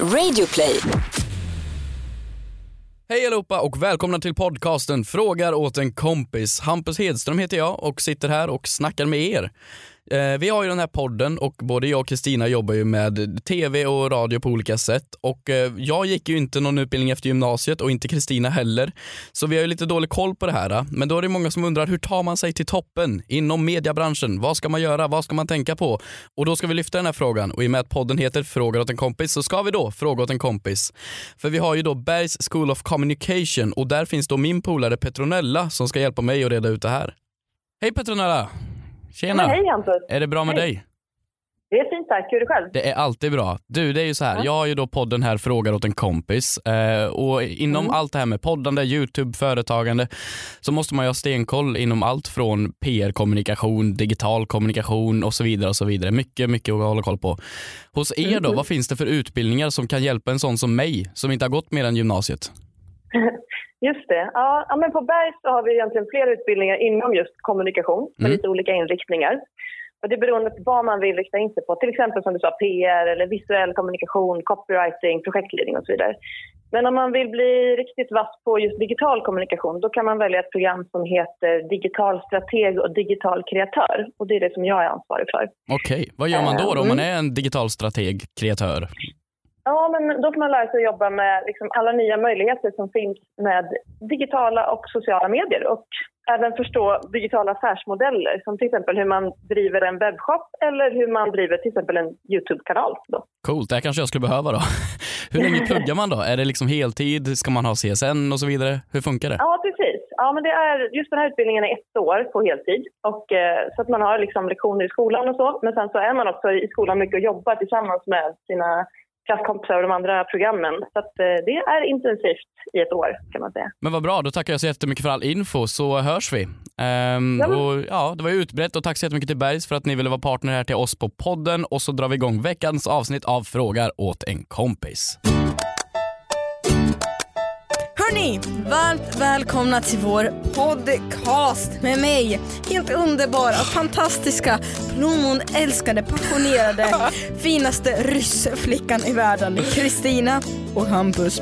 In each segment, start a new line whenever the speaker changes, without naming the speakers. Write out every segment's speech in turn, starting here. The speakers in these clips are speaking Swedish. Radioplay.
Hej allihopa och välkomna till podcasten Frågar åt en kompis. Hampus Hedström heter jag och sitter här och snackar med er. Eh, Vi har ju den här podden och både jag och Kristina jobbar ju med tv och radio på olika sätt och eh, jag gick ju inte någon utbildning efter gymnasiet och inte Kristina heller. Så vi har ju lite dålig koll på det här. eh. Men då är det många som undrar hur tar man sig till toppen inom mediebranschen? Vad ska man göra? Vad ska man tänka på? Och då ska vi lyfta den här frågan och i och med att podden heter Frågar åt en kompis så ska vi då fråga åt en kompis. För vi har ju då Bergs School of Communication och där finns då min polare Petronella som ska hjälpa mig att reda ut det här. Hej Petronella! Tjena!
Men hej Hampus.
Är det bra med
Hej.
dig?
Det är fint tack. Hur är det själv?
Det är alltid bra. Du, det är ju så här. Jag har ju då podden här Frågar åt en kompis eh, och inom
Mm.
allt det här med poddande, Youtube, företagande så måste man ju ha stenkoll inom allt från PR-kommunikation, digital kommunikation och så vidare och så vidare. Mycket, mycket att hålla koll på. Hos er
Mm.
då, vad finns det för utbildningar som kan hjälpa en sån som mig som inte har gått mer än gymnasiet?
Just det. Ja, ja, men på Bergs så har vi egentligen flera utbildningar inom just kommunikation med
Mm.
lite olika inriktningar. Och det är beroende på vad man vill rikta in sig på. Till exempel som du sa, PR, eller visuell kommunikation, copywriting, projektledning och så vidare. Men om man vill bli riktigt vass på just digital kommunikation då kan man välja ett program som heter Digital strateg och digital kreatör. Och det är det som jag är ansvarig för.
Okej, vad gör man då, då om
Mm.
man är en digital strateg, kreatör?
Ja, men då får man lära sig att jobba med liksom alla nya möjligheter som finns med digitala och sociala medier och även förstå digitala affärsmodeller som till exempel hur man driver en webbshop eller hur man driver till exempel en Youtube-kanal. Då.
Coolt, det här kanske jag skulle behöva då. Hur länge pluggar man då? Är det liksom heltid? Ska man ha CSN och så vidare? Hur funkar det?
Ja, precis. Ja, men det är, just den här utbildningen är ett år på heltid och, eh, så att man har liksom lektioner i skolan och så. Men sen så är man också i skolan mycket och jobbar tillsammans med sina klasskompisar och de andra programmen. Så att, eh, det är intensivt i ett år kan man säga.
Men vad bra, då tackar jag så jättemycket för all info så hörs vi. Ehm,
Ja, men-
och, ja, det var ju utbrett och tack så jättemycket till Bergs för att ni ville vara partner här till oss på podden och så drar vi igång veckans avsnitt av Frågar åt en kompis.
Hörni, varmt välkomna till vår podcast med mig, helt underbara, fantastiska, plommonälskade, passionerade, finaste ryssflickan i världen, Kristina och Hampus.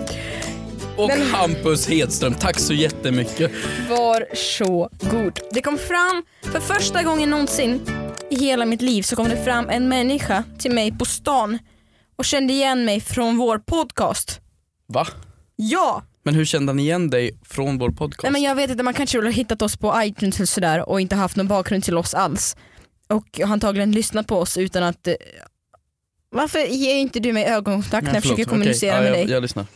Och Hampus Hedström, tack så jättemycket.
Var så god. Det kom fram, för första gången någonsin i hela mitt liv så kom det fram en människa till mig på stan och kände igen mig från vår podcast.
Va?
Ja!
Men hur kände han igen dig från vår podcast?
Nej men jag vet inte, man kanske har hittat oss på iTunes eller sådär och inte haft någon bakgrund till oss alls. Och har antagligen lyssnat på oss utan att... eh, Varför ger inte du mig ögonkontakt när jag försöker kommunicera med dig?
Jag, lyssnar.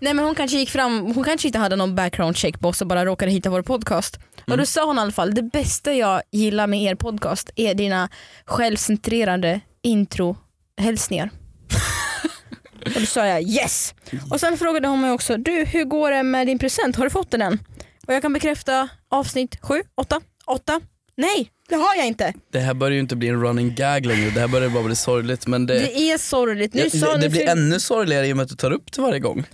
Nej men hon kanske gick fram, hon kanske inte hade någon background check på oss och bara råkade hitta vår podcast.
Mm.
Och då sa hon i alla fall, det bästa jag gillar med er podcast är dina självcentrerade introhälsningar. och då sa jag yes! Och sen frågade hon mig också, du hur går det med din present, har du fått den än? Och jag kan bekräfta avsnitt 7, 8, 8, nej det har jag inte.
Det här börjar ju inte bli en running gag längre, det här börjar bara bli sorgligt men det,
Det är sorgligt. Nu
Eh, Ja,
sa
det,
ni
det blir
för-
ännu sorgligare i och med att du tar upp det varje gång.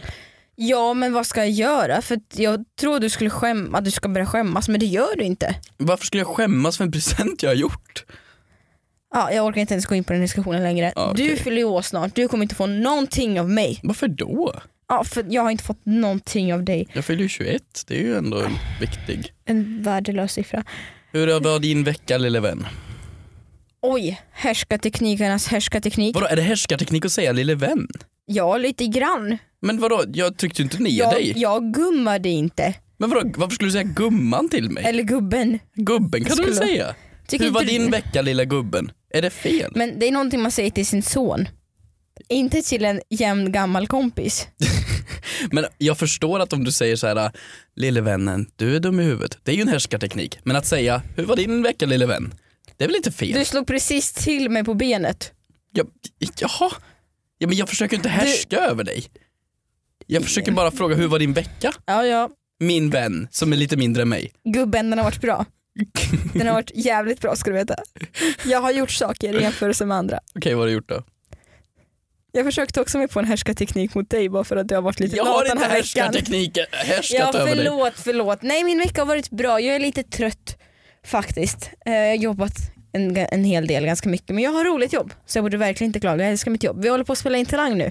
Ja men vad ska jag göra? För att jag tror du skulle skämma, att du ska börja skämmas men det gör du inte.
Varför skulle jag skämmas för en present jag har gjort?
Ja, jag orkar inte ens gå in på den diskussionen längre.
Ja, okej.
Du fyller ju år snart, du kommer inte få någonting av mig.
Varför då?
Ja, för jag har inte fått någonting av dig.
Jag fyller ju 21, det är ju ändå en viktig.
En värdelös siffra.
Hur var din vecka lille vän?
Oj, härskarteknikernas härskarteknik.
Vadå är det härskarteknik att säga lille vän?
Ja, lite grann.
Men vadå, jag tryckte ju inte ner
Jag,
dig.
jag gummade inte.
Men vadå, varför skulle du säga gumman till mig?
Eller gubben.
Gubben kan du väl
skulle-
säga?
Tycker
Hur var
inte du-
din vecka lilla gubben? Är det fel?
Men det är någonting man säger till sin son. Inte till en jämn gammal kompis.
Men jag förstår att om du säger så här, lille vännen, du är dum i huvudet. Det är ju en härskarteknik. Men att säga, hur var din vecka lille vän? Det är väl inte fel?
Du slog precis till mig på benet.
Ja, jaha? Ja, men jag försöker inte härska över dig. Jag försöker bara fråga hur var din vecka?
Ja, ja.
Min vän som är lite mindre än mig.
Gubben, den har varit bra. Den har varit jävligt bra ska du veta. Jag har gjort saker i jämförelse med andra.
Okej, vad har du gjort då?
Jag försökte också mig på en härskarteknik mot dig bara för att du har varit lite
Jag
lat
har
den
inte
här veckan.
härskarteknik, härskat
Ja
över dig.
förlåt, förlåt. Nej min vecka har varit bra, jag är lite trött faktiskt. Eh, Jag har jobbat en, ga- en hel del, ganska mycket. Men jag har roligt jobb så jag borde verkligen inte klaga. Jag älskar mitt jobb. Vi håller på att spela in Talang nu.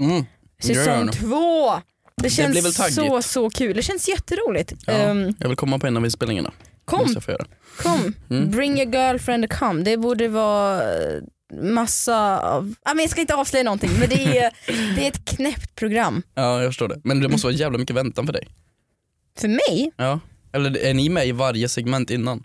Mm. Gör
Säsong
det.
två! Det
blir väl
känns
taggigt.
så så kul. Det känns jätteroligt.
Ja,
Ehm,
jag vill komma på en av inspelningarna.
kom,
Måste jag få göra.
kom.
Mm.
Bring your girlfriend to come. Det borde vara eh, massa av... Ah, men jag ska inte avslöja någonting men det är, det är ett knäppt program.
Ja, jag förstår det. Men det
Mm.
måste vara jävla mycket väntan för dig.
För mig
Ja. Eller är ni med i varje segment innan?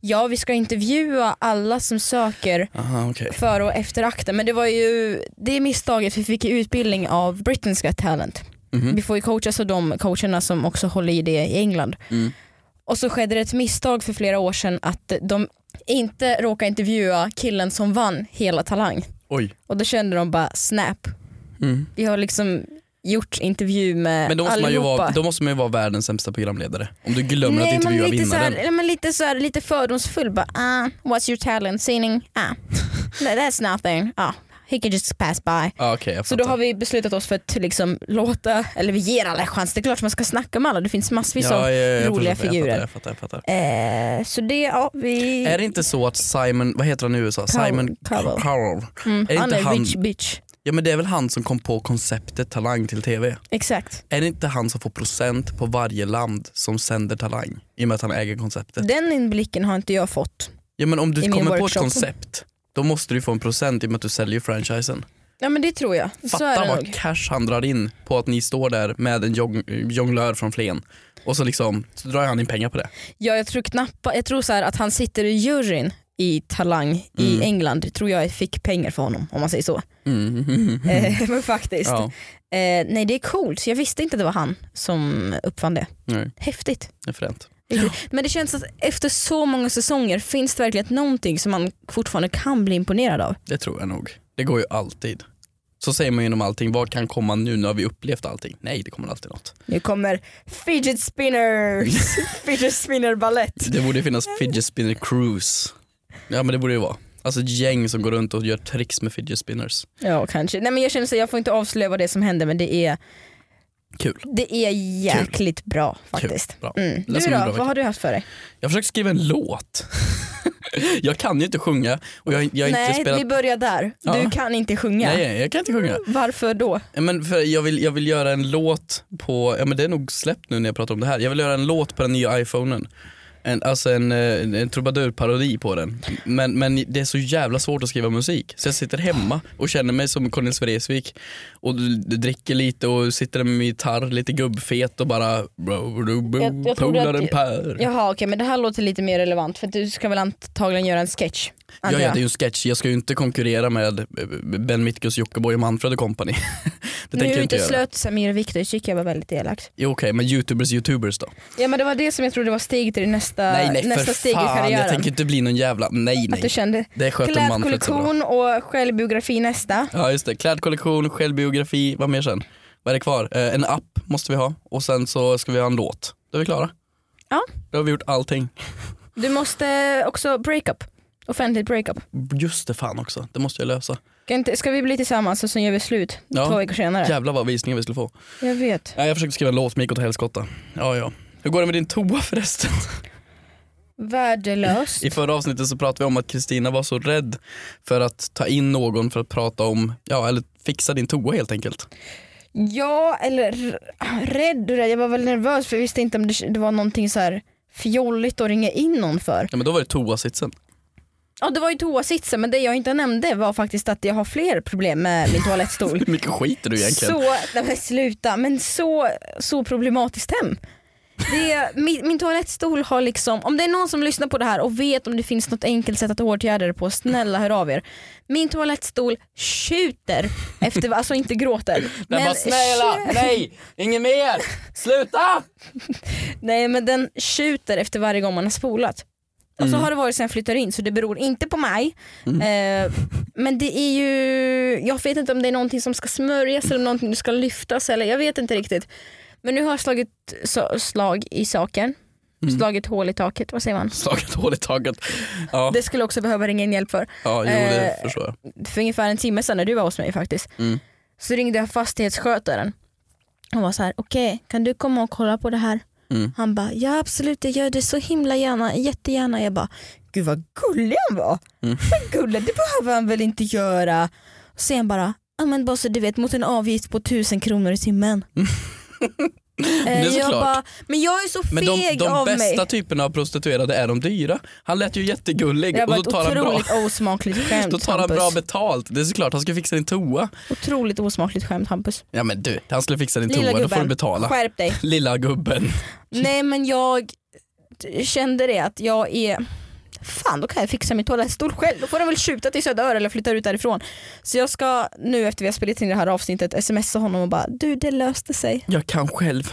Ja, vi ska intervjua alla som söker
Aha, okej.
före och efter akten. Men det var ju det misstaget, för vi fick ju utbildning av Britain's Got Talent.
Mhm.
Vi får ju coachas av de coacherna som också håller i det i England.
Mm.
Och så skedde det ett misstag för flera år sedan att de inte råkade intervjua killen som vann hela Talang.
Oj.
Och då kände de bara snap,
Mm.
vi har liksom gjort intervju med
Men då måste, man ju
allihopa.
vara, då måste man ju vara världens sämsta programledare. Om du glömmer att
Nej, men
intervjua
lite så här,
vinnaren.
nej, men lite, så här, lite fördomsfull bara ah, what's your talent singing? Ah, no, that's nothing. Ah, he can just pass by.
Ja, okej, jag
Så då
fattar.
har vi beslutat oss för att liksom låta, eller vi ger alla en chans. Det är klart man ska snacka med alla, det finns massvis av
ja, ja, ja, jag
roliga
förstår, jag
figurer.
fattar, Jag fattar, jag fattar.
Eh, så det, ja vi...
Är det inte så att Simon, vad heter han i USA?
Cowell.
Simon
Cowell.
Cowell.
mm,
är det
han
inte
är
han-
rich bitch.
Ja men det är väl han som kom på konceptet Talang till TV?
Exakt.
Är det inte han som får procent på varje land som sänder Talang? I och med att han äger konceptet.
Den inblicken har inte jag fått.
Ja men om
I
du
min
kommer på ett
workshop.
koncept, då måste du få en procent i och med att du säljer franchisen.
Ja men det tror jag. så är
Fatta
det
vad
nog.
cash han drar in på att ni står där med en jong- jonglör från Flen och så liksom så drar han in pengar på det.
Ja, jag tror knappa, jag tror så här att han sitter i juryn i Talang i England, Det tror jag fick pengar för honom om man säger så.
Mm.
Eh, Men faktiskt.
Ja,
Eh, nej det är coolt, jag visste inte att det var han som uppfann det.
nej,
Häftigt.
det är fränt.
Men det känns att efter så många säsonger finns det verkligen någonting som man fortfarande kan bli imponerad av.
Det tror jag nog. Det går ju alltid. Så säger man ju inom allting, vad kan komma nu? Nu har vi upplevt allting. Nej, det kommer alltid något.
Nu kommer fidget spinners, fidget spinner ballett.
Det borde ju finnas fidget spinner cruise. Ja men det borde ju vara. Alltså ett gäng som går runt och gör tricks med fidget spinners.
Ja kanske. Nej men jag känner så här, jag får inte avslöja vad det är som hände men det är,
Kul.
det är jäkligt bra faktiskt.
Bra.
Mm.
Lät
Du
som
då,
en bra vecka.
vad har du haft för dig?
Jag försöker skriva en låt. jag kan ju inte sjunga och jag, jag har inte
Nej,
spelat...
vi börjar där. Du
Ja.
kan inte sjunga.
Nej, jag kan inte sjunga.
Varför då?
Ja, Men för jag, vill, jag vill göra en låt på, ja men det är nog släppt nu när jag pratar om det här. Jag vill göra en låt på den nya iPhonen. En, alltså en, eh, en, en trubadurparodi på den. Men, men det är så jävla svårt att skriva musik. Så jag sitter hemma och känner mig som Cornelis Vreeswijk och d- dricker lite och sitter där med min gitarr, lite gubbfet och bara
Jag- jag trodde
Polar
att
en
jag-
pär.
Jaha okej men det här låter lite mer relevant för att du ska väl antagligen göra en sketch?
Ja,
antar
ja,
jag.
det är ju en sketch. Jag ska ju inte konkurrera med eh, Ben Mitkus, Jockiboi och Manfred och company. Det tänker
nu
jag inte göra.
uteslöt Samir och Viktor, tycker jag var väldigt elakt.
Jo, Okej, men youtubers youtubers då?
Ja men det var det som jag trodde var steget i nästa,
nej nej
Eh, nästa
för
steg i
fan, jag
karriären.
tänker inte bli någon jävla, nej
Att du
nej.
kände
Det sköter Manfred så bra.
klädkollektion och självbiografi nästa.
Ja just det, klädkollektion, självbiografi, vad mer sen? Vad är det kvar? Eh, en app måste vi ha och sen så ska vi ha en låt. Då är vi klara.
Ja.
Då har vi gjort allting.
Du måste också breakup. Offentligt breakup.
Just det fan också, det måste jag lösa.
Ska, inte, ska vi bli tillsammans och sen gör vi slut
Ja.
två veckor senare?
Jävlar vad visningar vi skulle få.
Jag vet.
Ja, jag försökte skriva en låt med Gick åt helskotta. Ja ja. Hur går det med din toa förresten?
Värdelöst.
I förra avsnittet så pratade vi om att Kristina var så rädd för att ta in någon för att prata om, ja eller fixa din toa helt enkelt.
Ja, eller r- rädd och rädd. Jag var väl nervös för jag visste inte om det, det var någonting så här fjolligt att ringa in någon för.
Ja men då var det toasitsen.
Ja det var ju toasitsen men det jag inte nämnde var faktiskt att jag har fler problem med min toalettstol.
Hur mycket skiter du egentligen?
så, nej men sluta, men så, så problematiskt hem. Det, är- min, min toalettstol har liksom, om det är någon som lyssnar på det här och vet om det finns något enkelt sätt att åtgärda det på, snälla hör av er. Min toalettstol tjuter efter, alltså inte gråter.
Den bara snälla, nej, inget mer, sluta!
Nej men den tjuter efter varje gång man har spolat. Och
Mm.
så har det varit sen jag flyttade in så det beror inte på mig. Eh, men det är ju, jag vet inte om det är någonting som ska smörjas eller om någonting ska lyftas eller jag vet inte riktigt. Men nu har jag slagit så, slag i saken.
Mm.
Slagit hål i taket, vad säger man?
Slaget hål i taget. Ja,
Det skulle jag också behöva ringa in hjälp för.
ja jo det
eh,
förstår jag.
För ungefär en timme sedan när du var hos mig faktiskt.
Mm.
Så ringde jag fastighetsskötaren. Hon var så här: okej kan du komma och kolla på det här?
Mm.
Han bara, ja absolut jag gör det så himla gärna, jättegärna. Jag bara, gud vad gullig han var.
Mm.
Men gullig, det behöver han väl inte göra. Och sen bara, ja men bara så du vet mot en avgift på tusen kronor i timmen. Eh,
är
jag
såklart.
bara, men jag är så feg
Men de, de
av mig.
bästa typerna av prostituerade är de dyra. Han lät ju jättegullig
Det var
och
ett
då tar, han bra,
otroligt osmakligt skämt
då tar han
Hampus.
bra betalt. Det är såklart, han ska fixa din toa.
Otroligt osmakligt skämt Hampus.
Ja men du, han skulle fixa din
Lilla
toa, då får du
gubben,
betala.
skärp dig.
Lilla gubben.
Nej men jag t- kände det att jag är Fan då kan jag fixa min toalettstol själv. Då får den väl skjuta till Söderör eller flytta ut därifrån. Så jag ska nu efter vi har spelat in det här avsnittet smsa honom och bara du det löste sig.
Jag kan själv.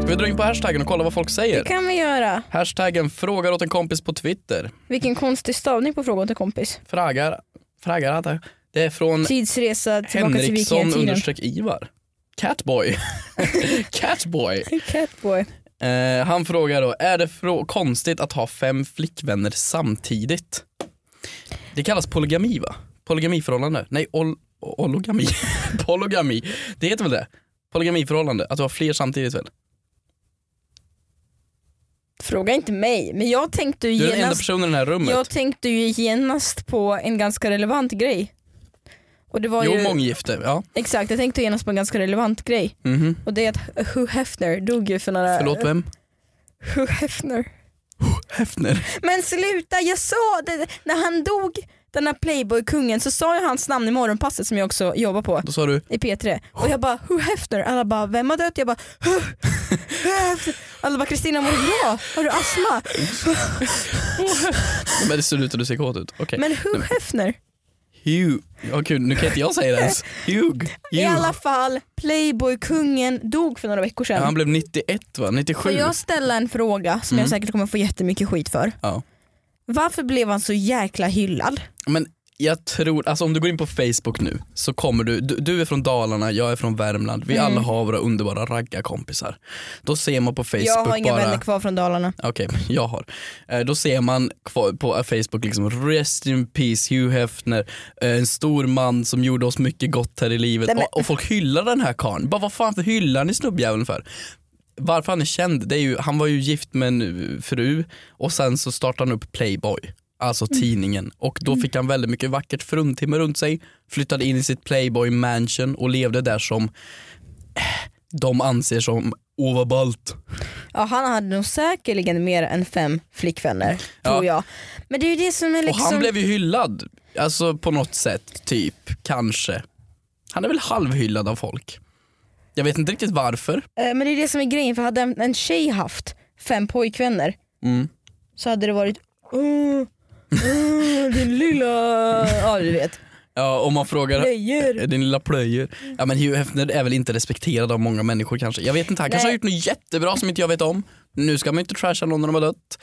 Ska vi dra in på hashtaggen och kolla vad folk säger?
Det kan vi göra.
Hashtaggen frågar åt en kompis på Twitter.
Vilken konstig stavning på frågan till kompis.
Fragar, fragar antar jag. Det är från
Tidsresa tillbaka till
Henriksson
vikingatiden.
understreck Ivar. Catboy. Catboy.
Catboy.
Eh, han frågar då, är det frå- konstigt att ha fem flickvänner samtidigt? Det kallas polygami va? Polygamiförhållande? Nej, ol- ologami. polygami. Det heter väl det? Polygamiförhållande, att du har fler samtidigt väl?
Fråga inte mig men jag tänkte ju
Du är den enda
genast
personen i det här rummet.
Jag tänkte ju genast på en ganska relevant grej. Och det var
Jo,
ju,
månggifte. Ja.
Exakt, jag tänkte genast på en ganska relevant grej.
Mhm.
Och det är att Hugh Hefner dog ju för några...
Förlåt, vem?
Hugh Hefner.
Hefner.
Men sluta, jag sa det! När han dog, den här playboy-kungen, så sa jag hans namn i morgonpasset som jag också jobbar på.
Då sa du,
I P3. Och jag bara Hugh Hefner, alla bara vem har dött? Jag bara Hugh Hugh Hefner. Alla bara Kristina mår du bra? Har du astma?
men det ser ut att du ser kåt ut. Okej.
Men Hugh Hefner.
Hugh. Ja, gud, nu kan inte jag säga det ens. Hugh.
I
Hugh.
alla fall, playboy-kungen dog för några veckor
Ja,
sedan.
han blev 91 va? 97?
Får jag ställa en fråga som jag säkert kommer få jättemycket skit för?
Mm. Ja.
Varför blev han så jäkla hyllad?
Men jag tror, alltså om du går in på Facebook nu så kommer du, du, du är från Dalarna, jag är från Värmland, vi
Mm.
alla har våra underbara raggarkompisar. Då ser man på Facebook
jag har inga
bara,
vänner kvar från Dalarna.
Okej, jag har. Eh, Då ser man kvar på Facebook liksom rest in peace Hugh Hefner, eh, en stor man som gjorde oss mycket gott här i livet.
Nej, men-
och, och folk hyllar den här karln. Bara vad fan för hyllar ni snubbjäveln för? Varför han är känd, det är ju, han var ju gift med en fru och sen så startade han upp Playboy, alltså
Mm.
tidningen. Och då fick han väldigt mycket vackert fruntimmer runt sig, flyttade in i sitt Playboy mansion och levde där som eh, de anser som overballt.
Ja, han hade nog säkerligen mer än fem flickvänner,
Ja.
tror jag. Men det är ju det som är liksom...
Och han blev ju hyllad, alltså på något sätt, typ, kanske. Han är väl halvhyllad av folk. Jag vet inte riktigt varför.
Eh, Men det är det som är grejen, för hade en, en tjej haft fem pojkvänner
Mm.
så hade det varit Åh, åh, din lilla... Ja du vet.
Ja, om man frågar
Lejer.
din lilla plöjer. Ja men Hugh Hefner är väl inte respekterad av många människor kanske. Jag vet inte, han kanske
Nej.
har gjort något jättebra som inte jag vet om. Nu ska man ju inte trasha någon när de har dött.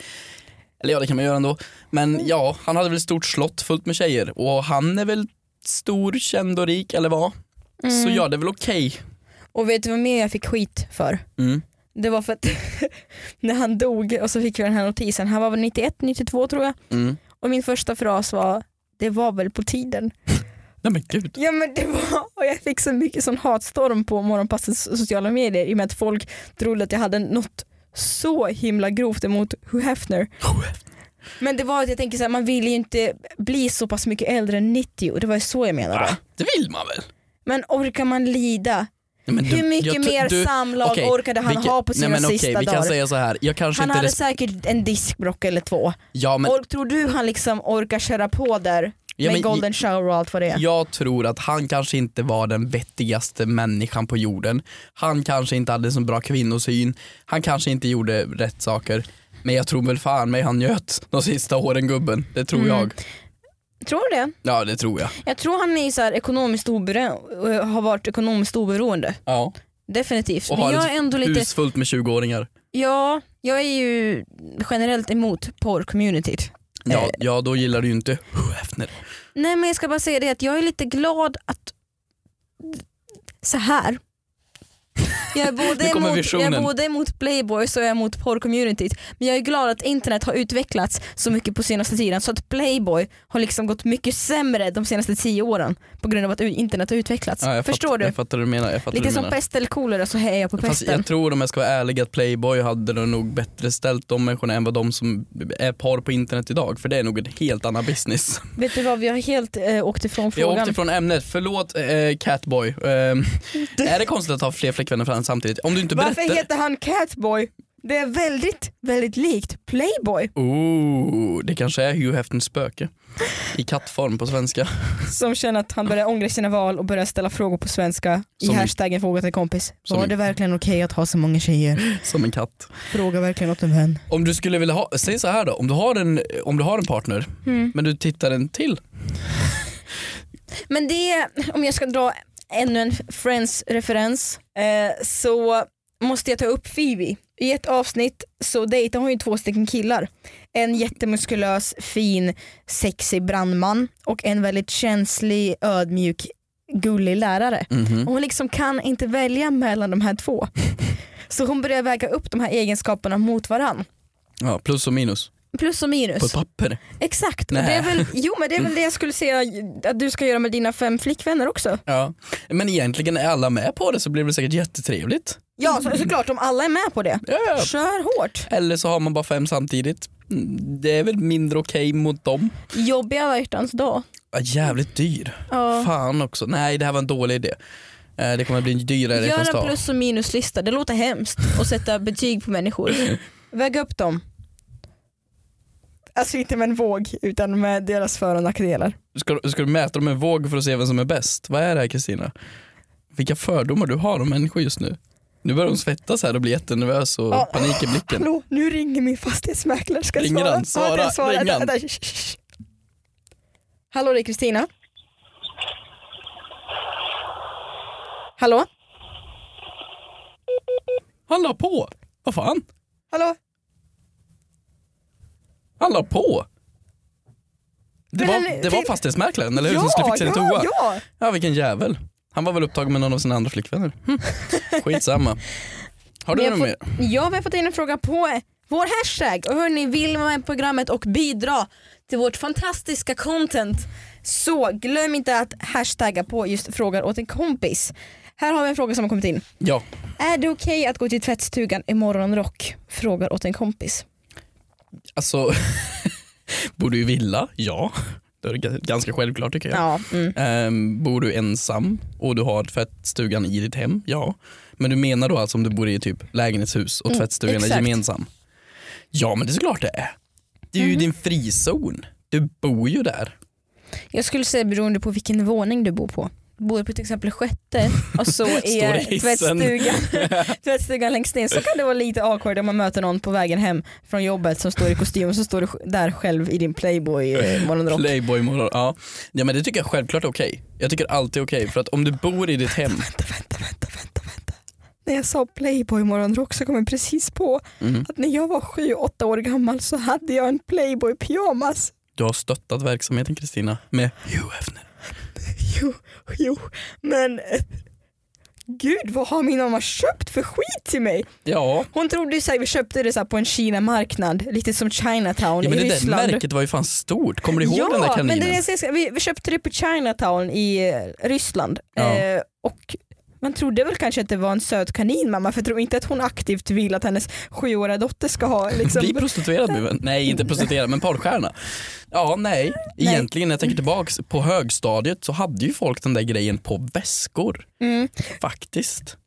Eller ja, det kan man göra ändå.
Mm.
Men ja, han hade väl ett stort slott fullt med tjejer och han är väl stor, känd och rik, eller vad? Så
Mm.
ja, det är väl okej.
Och vet du vad mer jag fick skit för?
Mm.
Det var för att när han dog och så fick vi den här notisen, han var väl 91, 92 tror jag.
Mm.
Och min första fras var det var väl på tiden.
Nej men gud.
Ja men det var, och jag fick så mycket sån hatstorm på morgonpassets sociala medier i och med att folk trodde att jag hade något så himla grovt emot Hugh Hefner. Men det var att jag tänker så här, man vill ju inte bli så pass mycket äldre än 90 och det var ju så jag menade.
Ah, det vill man väl?
Men orkar man lida?
Nej, men du-
Hur mycket
jag tr-
mer samlag
okej,
orkade han
vilket-
ha på sina
nej, men okej,
sista
vi kan
dagar?
säga så här. Jag kanske
Han
inte
hade
res-
säkert en diskbrock eller två.
ja, men,
Or- tror du han liksom orkar köra på där
Ja,
med
men-
golden shower och allt vad det är?
jag tror att han kanske inte var den vettigaste människan på jorden. Han kanske inte hade så bra kvinnosyn. Han kanske inte gjorde rätt saker. Men jag tror väl fan mig han njöt de sista åren gubben. Det tror
Mm.
jag.
Tror du det?
Ja det tror jag.
Jag tror han är så här ekonomiskt oberoende, har varit ekonomiskt oberoende.
Ja.
Definitivt.
Och
Men
har
jag är
ett
ändå
hus
lite,
fullt med 20-åringar.
ja, jag är ju generellt emot porrcommunityt.
Ja, ja då gillar du ju inte Hefner.
Nej men jag ska bara säga det att jag är lite glad att så här. Jag är både,
Nu kommer
emot, jag är
visionen.
både emot Playboys och jag är emot porrcommunityt. Men jag är glad att internet har utvecklats så mycket på senaste tiden så att Playboy har liksom gått mycket sämre de senaste tio åren på grund av att u- internet har utvecklats.
Ja, jag
Förstår
fatt,
du?
Jag fattar hur du menar. Jag fattar
Lite
hur du
som
menar.
pest eller kolera så hejar jag på
Fast
pesten.
jag tror om jag ska vara ärlig att Playboy hade det nog bättre ställt de människorna än vad de som är par på internet idag. För det är nog en helt annan business.
Vet du vad, vi har helt eh, åkt ifrån
Vi har
frågan.
åkt ifrån ämnet, förlåt eh, Catboy. Ehm, är det konstigt att ha fler flickvänner fram samtidigt? Om du inte
Varför
berättar...
heter han Catboy? Det är väldigt, väldigt likt Playboy
Oh, det kanske är Hugh Hefters spöke. I kattform på svenska.
som känner att han börjar ångra sina val och börjar ställa frågor på svenska
Som-
i hashtaggen fråga till kompis.
Som-
Var det verkligen okej att ha så många tjejer?
Som en katt.
Fråga verkligen åt en vän.
Om du skulle vilja ha, säg så här då, om du har en, om du har en partner
Mm.
men du tittar en till.
Men det, är- om jag ska dra ännu en Friends-referens eh, så måste jag ta upp Phoebe. I ett avsnitt så dejtar hon ju två stycken killar. En jättemuskulös, fin, sexig brandman och en väldigt känslig, ödmjuk, gullig lärare.
Mhm.
Och hon liksom kan inte välja mellan de här två. Så hon börjar väga upp de här egenskaperna mot varann.
Ja, plus och minus
Plus
på
och minus.
ett papper.
Exakt. Och
Nej.
det är väl, jo men det är väl det jag skulle säga att du ska göra med dina fem flickvänner också.
Ja. Men egentligen är alla med på det så blir det säkert jättetrevligt.
Ja så, såklart om alla är med på det.
Ja, ja.
Kör hårt.
Eller så har man bara fem samtidigt. Mm, Det är väl mindre okej mot dem.
Jobbiga alla hjärtans dag.
Ja, jävligt dyr.
Ja.
Fan också. Nej det här var en dålig idé. Eh, Det kommer bli dyrare från
Gör en
start.
plus och minuslista, det låter hemskt och sätta betyg på människor. Väga upp dem. Alltså inte med en våg utan med deras för och nackdelar.
Ska, ska du mäta dem med en våg för att se vem som är bäst? Vad är det här Kristina? Vilka fördomar du har om människor just nu. Nu börjar hon svettas här och blir jättenervös och
Ja.
panik i blicken.
Hallå, nu ringer min fastighetsmäklare. Ska jag
Ringer
svara?
han? Svara,
Ja, det är
ring
Vänta,
han.
vänta, shh, shh, shh. Hallå det är Kristina. Hallå?
Han la på! Vad fan?
Hallå?
Han la på! Det
Men
var,
eller-
det var
det-
fastighetsmäklaren, eller hur? som skulle fixa din toa.
ja, ja.
Ja vilken jävel. Han var väl upptagen med någon av sina andra flickvänner. Hm. Skitsamma. Har
Vi
du
har
något mer?
fått- Ja, vi har fått in en fråga på vår hashtag. Och hörni, vill vara med i programmet och bidra till vårt fantastiska content så glöm inte att hashtagga på just frågar åt en kompis. Här har vi en fråga som har kommit in.
Ja.
Är det okej att gå till tvättstugan i morgonrock? Frågar åt en kompis.
Alltså, bor du i villa? Ja. Det är g- ganska självklart tycker jag.
Ja. Mm.
Ehm, bor du ensam och du har tvättstugan i ditt hem? Ja. Men du menar då alltså om du bor i typ lägenhetshus och tvättstugan är
Mm, exakt.
gemensam? Ja men det är såklart det är. Det
Mhm.
är ju din frizon. Du bor ju där.
Jag skulle säga beroende på vilken våning du bor på. Bor du på till exempel sjätte och så
Står i
är
hissen.
tvättstugan, tvättstugan längst ner så kan det vara lite awkward om man möter någon på vägen hem från jobbet som står i kostym och så står du sj- där själv i din playboy eh, morgonrock.
Playboy morgon. Ja. ja men det tycker jag självklart är okej. Jag tycker alltid är okej för att om du bor i ditt hem.
Vänta, vänta, vänta, vänta, vänta. När jag sa playboy morgonrock så kom jag precis på
Mm.
att när jag var sju, åtta år gammal så hade jag en playboy pyjamas.
Du har stöttat verksamheten Kristina med Hugh Hefner.
Jo, jo, men eh, gud vad har min mamma köpt för skit till mig?
Ja.
Hon trodde ju såhär, vi köpte det såhär på en Kina-marknad, lite som Chinatown
Ja men
i
det där
Ryssland.
märket var ju fan stort. Kommer du ihåg
ja,
den där
men
kaninen?
det är det jag säger, vi, vi köpte det på Chinatown i eh, Ryssland.
Ja.
Eh, och man trodde väl kanske att det var en söt kanin mamma, för jag tror inte att hon aktivt vill att hennes sjuåriga dotter ska ha
Bli
liksom,
prostituerad nu? men- Nej inte prostituerad men porrstjärna. Ja nej. Egentligen när jag tänker tillbaks på högstadiet så hade ju folk den där grejen på väskor. Faktiskt.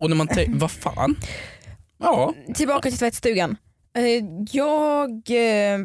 Och när man tänker, vad fan. Ja,
Tillbaka till tvättstugan. Eh, jag... Eh,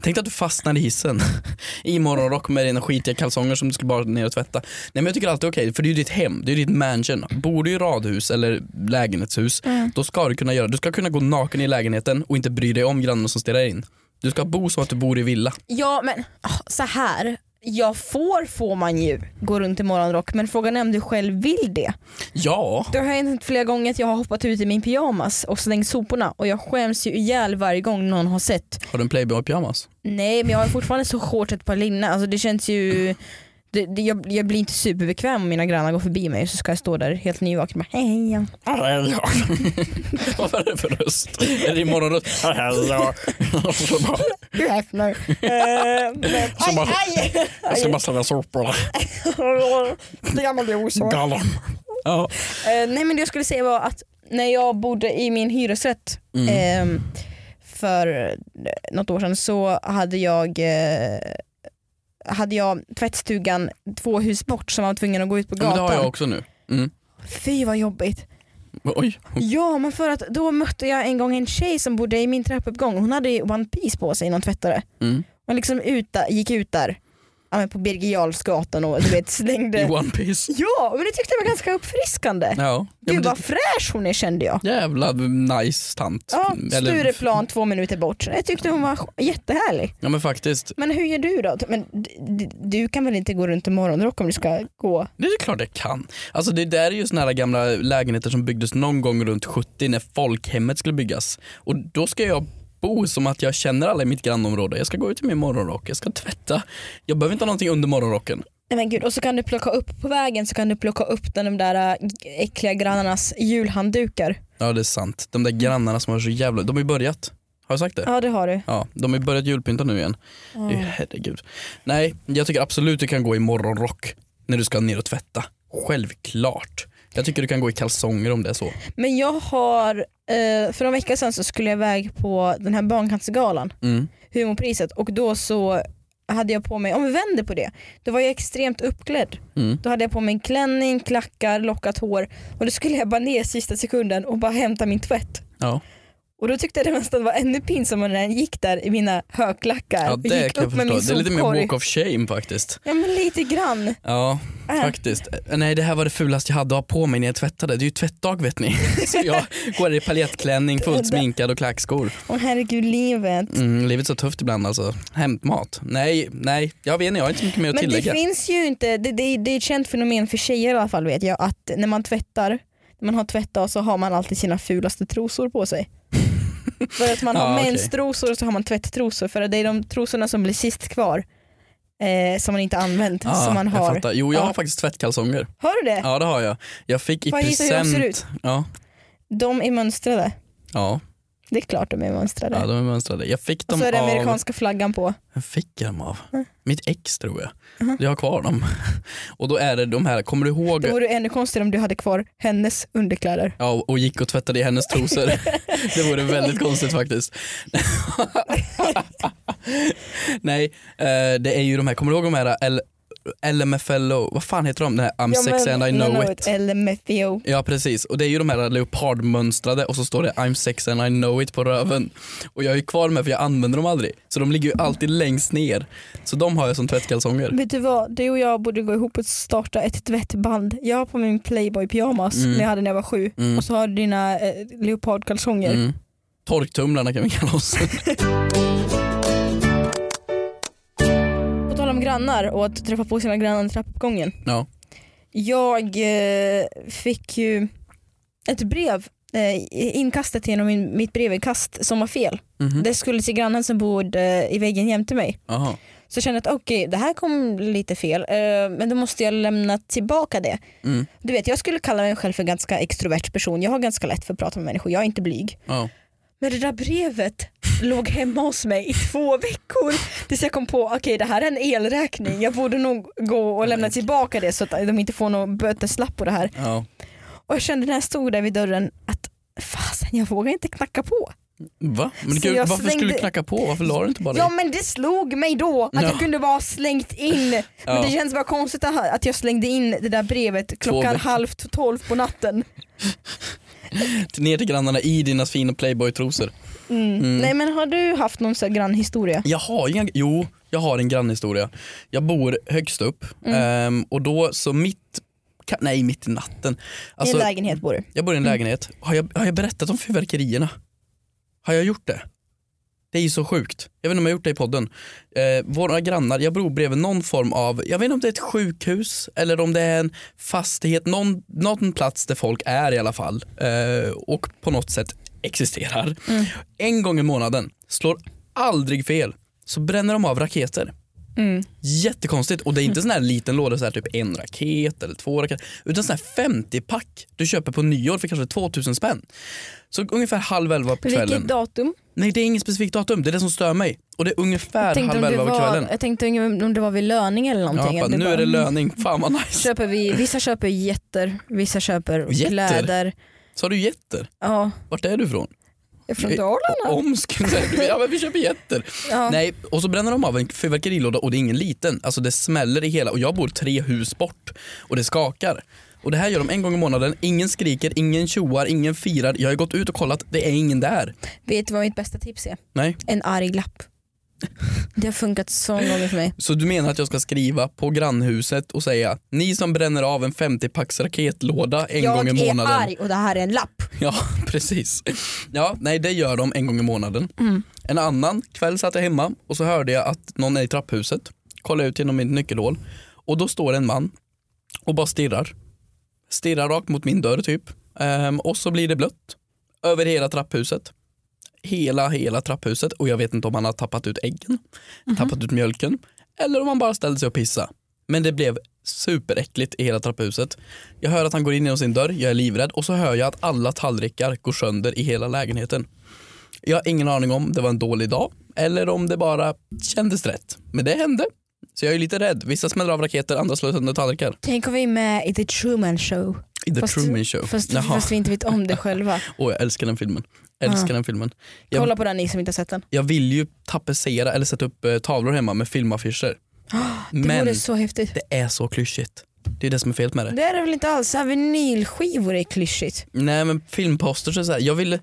tänk dig att du fastnar i hissen i morgonrock med dina skitiga kalsonger som du skulle bara ner och tvätta. Nej men jag tycker alltid okej, för det är ju ditt hem, det är ju ditt mansion. Bor du i radhus eller lägenhetshus, då ska du kunna göra, du ska kunna gå naken i lägenheten och inte bry dig om grannen som stirrar in. Du ska bo så att du bor i villa.
ja men ah, så här jag får får man ju gå runt i morgonrock men frågan är om du själv vill det.
Ja.
Det har hänt flera gånger att jag har hoppat ut i min pyjamas och slängt soporna och jag skäms ju ihjäl varje gång någon har sett.
Har du en Playboy-pyjamas?
Nej men jag har fortfarande så shorts och ett par linne, alltså det känns ju det, det, jag, jag blir inte superbekväm om mina grannar går förbi mig så ska jag stå där helt nyvaken och bara hej. ja."
Vad är det för röst? Är det morgonröst? Och så bara,
Du häfnar. Eh, men-
Så bara-
Aj,
jag ska bara sälja sopor.
aj. Det gamla blir osår.
Galan. Ja.
Eh, nej men det jag skulle säga var att när jag bodde i min hyresrätt
Mm.
ehm, för eh, något år sedan så hade jag, eh, hade jag tvättstugan två hus bort som man var tvungen att gå ut på
Men det har jag Mm.
gatan.
också nu. Mm.
Fy vad jobbigt.
Oj.
Ja men för att då mötte jag en gång en tjej som bodde i min trappuppgång. Hon hade ju One Piece på sig i någon tvättare.
Mm.
Hon liksom ut, där- gick ut där ja, men på Birger Jarlsgatan och du vet
I
slängde.
One Piece.
Ja men det tyckte jag var ganska uppfriskande.
Ja. ja men
Gud
det,
vad fräsch hon är kände jag.
jävla nice tant.
Ja,
Eller-
Stureplan två minuter bort. Jag tyckte hon var sk- jättehärlig.
Ja men faktiskt.
Men hur gör du då? Men d- d- du kan väl inte gå runt i morgonrock om du ska gå?
Det är klart jag kan. Alltså det där är ju såna här gamla lägenheter som byggdes någon gång runt 70 när folkhemmet skulle byggas. Och då ska jag bo som att jag känner alla i mitt grannområde. Jag ska gå ut i min morgonrock, jag ska tvätta. Jag behöver inte ha någonting under morgonrocken.
Nej men gud, och så kan du plocka upp på vägen så kan du plocka upp den, de där äh, äckliga grannarnas julhanddukar.
Ja det är sant. De där grannarna som har så jävla... De har ju börjat. Har jag sagt det?
Ja det har du.
Ja, de har ju börjat julpynta nu igen. Det är ju- Herregud. Nej, jag tycker absolut du kan gå i morgonrock när du ska ner och tvätta. Självklart. Jag tycker du kan gå i kalsonger om det är så.
Men jag har, eh, för några veckor sedan så skulle jag iväg på den här Barncancergalan,
Mm.
humorpriset, och då så hade jag på mig, om vi vänder på det, då var jag extremt uppklädd.
Mm.
Då hade jag på mig en klänning, klackar, lockat hår och då skulle jag bara ner sista sekunden och bara hämta min tvätt.
Ja.
Och då tyckte jag det nästan var ännu pinsammare när jag gick där i mina högklackar
ja,
och
det
gick
kan jag
upp med
förstå.
min
Det är lite mer
sopkorg.
walk of shame faktiskt.
Ja men lite grann.
Ja,
Äh.
faktiskt. Äh, Nej, det här var det fulaste jag hade att ha på mig när jag tvättade. Det är ju tvättdag vet ni. Så jag går i paljettklänning, fullt sminkad och klackskor.
Åh herregud livet.
Mm, livet är så tufft ibland alltså. Hämtmat. Nej, nej, jag vet inte, jag har inte så mycket mer att
Men det
tillägga.
finns ju inte, det, det, det är ett känt fenomen för tjejer i alla fall vet jag att när man tvättar, när man har tvättdag så har man alltid sina fulaste trosor på sig. för att man har
Ja, okej.
menstrosor och så har man tvätttrosor för det är de trosorna som blir sist kvar. Eh, som man inte använt,
Ja,
som man
Jag
har.
fattar. Jo, jag
Ja.
har faktiskt tvättkalsonger.
Har du det?
Ja, det har jag. Jag fick i
Får jag gissa hur de ser
present. Ja,
De är mönstrade.
ja,
Det är klart de är mönstrade.
ja, de är mönstrade. Jag fick
och
dem
så är det
av...
amerikanska flaggan på.
Vem fick jag dem av? Mitt ex tror jag. Jag har kvar dem. Och då är det de här, kommer du ihåg?
Det vore ännu konstigare om du hade kvar hennes underkläder.
Ja, och gick och tvättade i hennes trosor. det vore väldigt konstigt faktiskt. Nej, eh, det är ju de här, kommer du ihåg de här eh, L- LMFL och vad fan heter de? Den här I'm sexy and I know, it.
Eller Metheo.
Ja precis, och det är ju de här leopardmönstrade och så står det I'm sexy and I know it på röven. Och jag är ju kvar med för jag använder dem aldrig. Så de ligger ju alltid längst ner. Så de har jag som tvättkalsonger.
Vet du vad, du och jag borde gå ihop och starta ett tvättband. Jag har på min Playboy pyjamas
Mm.
när jag hade när jag var sju
Mm.
och så har du dina eh, leopardkalsonger.
Mm. Torktumlarna kan vi kalla oss.
På tal om grannar och att träffa på sina grannar i trappuppgången.
Ja.
Jag eh, fick ju ett brev, eh, i- inkastet genom min, mitt brevinkast som var fel.
Mhm.
Det skulle till grannen som bodde i väggen jämte mig.
Jaha.
Så jag kände att okej, det här kom lite fel, eh, men då måste jag lämna tillbaka det.
Mm.
Du vet, jag skulle kalla mig själv för en ganska extrovert person. Jag har ganska lätt för att prata med människor, jag är inte blyg.
Ja.
Men det där brevet låg hemma hos mig i två veckor tills jag kom på okej det här är en elräkning, jag borde nog gå och lämna tillbaka det så att de inte får någon böteslapp på det här.
ja.
Och jag kände när jag stod där vid dörren att fasen jag vågar inte knacka på.
Va? Men
Så
gud,
jag
varför skulle du
slängde-
knacka på? Varför la du inte bara
Ja
det?
men det slog mig då att
Ja.
jag kunde bara ha slängt in, men
Ja.
det känns bara konstigt att att jag slängde in det där brevet klockan
veckor.
halv tolv på natten.
Ner till grannarna i dina fina playboy-trosor.
Mm. Nej men har du haft någon sån här grannhistoria?
Jag har inga, jo, jag har en grannhistoria. Jag bor högst upp
Mm.
ehm, och då så mitt, ka- nej mitt i natten. Alltså,
I en lägenhet Mm. bor du?
jag bor i en lägenhet. Har jag, har jag berättat om fyrverkerierna? Har jag gjort det? Det är ju så sjukt. Jag vet inte om jag har gjort det i podden. Eh, våra grannar, jag bor bredvid någon form av, jag vet inte om det är ett sjukhus eller om det är en fastighet, någon, någon plats där folk är i alla fall eh, och på något sätt existerar. En gång i månaden, slår aldrig fel, så bränner de av raketer. Jättekonstigt och det är inte sån här liten låda, så här typ en raket eller två raketer utan sån här 50-pack du köper på nyår för kanske 2000 spänn. Så ungefär halv elva på kvällen.
Vilket datum?
Nej det är inget specifikt datum, det är det som stör mig. Och det är
Jag
ungefär
tänkte, om
halv
det
elva på
var,
kvällen.
jag tänkte om det var vid löning eller
Ja,
någonting.
bara,
att det
nu är det
bara- Mm.
löning, fan vad nice.
Köper vi, vissa köper jätter, vissa köper
Jätter?
kläder.
Sa du getter?
Ja,
Vart är du ifrån?
jag
Eh,
är från Dalarna.
Om skulle jag säga. Ja men vi köper getter.
Ja.
Nej, och så bränner de av en fyrverkerilåda och det är ingen liten. Alltså det smäller i hela och jag bor tre hus bort och det skakar. Och det här gör de en gång i månaden. Ingen skriker, ingen tjoar, ingen firar. Jag har gått ut och kollat, det är ingen där.
Vet du vad mitt bästa tips är?
Nej.
En arg lapp. Det har funkat så många gånger för mig.
Så du menar att jag ska skriva på grannhuset och säga ni som bränner av en 50-packs raketlåda en gång i
jag är
månaden.
arg och det här är en lapp.
Ja, precis. Ja, nej det gör de en gång i månaden.
Mm.
En annan kväll satt jag hemma och så hörde jag att någon är i trapphuset. Kollade ut genom mitt nyckelhål och då står en man och bara stirrar. Stirrar rakt mot min dörr typ. Ehm, och så blir det blött över hela trapphuset. Hela, hela trapphuset och jag vet inte om han har tappat ut äggen,
Mhm.
tappat ut mjölken eller om han bara ställde sig och pissade. Men det blev superäckligt i hela trapphuset. Jag hör att han går in genom sin dörr, jag är livrädd och så hör jag att alla tallrikar går sönder i hela lägenheten. Jag har ingen aning om det var en dålig dag eller om det bara kändes rätt. Men det hände. Så jag är lite rädd. Vissa smäller av raketer, andra slår sönder tallrikar.
Tänk om vi är med i The Truman Show.
I The
Fast-
Truman Show.
Fast,
Jaha.
fast vi inte vet om det själva.
Åh, jag älskar den filmen. Älskar den filmen. Jag,
Kolla på den ni som inte har sett den.
jag vill ju tapetsera eller sätta upp eh, tavlor hemma med filmaffischer.
Det
Men
vore så häftigt.
det är så klyschigt. Det är det som är fel med det.
Det är det väl inte alls? Så här vinylskivor är klyschigt.
Nej men filmposters är så här. jag vill,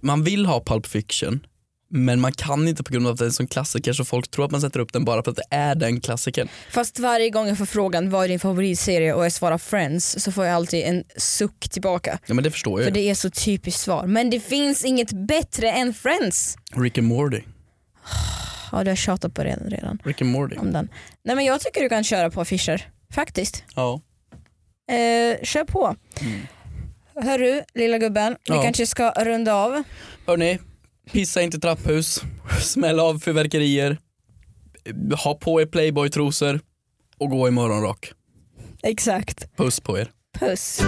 man vill ha Pulp Fiction men man kan inte på grund av att det är en sån klassiker så folk tror att man sätter upp den bara för att det är den klassikern.
Fast varje gång jag får frågan vad är din favoritserie och jag svarar Friends så får jag alltid en suck tillbaka.
Ja men det förstår
För
jag ju.
det är så typiskt svar. Men det finns inget bättre än Friends.
Rick and Morty.
Ja du har tjatat på den redan.
Rick and Morty.
Om den. Nej men jag tycker du kan köra på affischer. Faktiskt.
Ja.
Eh, kör på. Hörru lilla gubben, vi
Ja.
kanske ska runda av.
Hörni, pissa inte i trapphus, smäll av fyrverkerier, ha på er playboy-trosor och gå i morgonrock.
Exakt.
Puss på er.
Puss.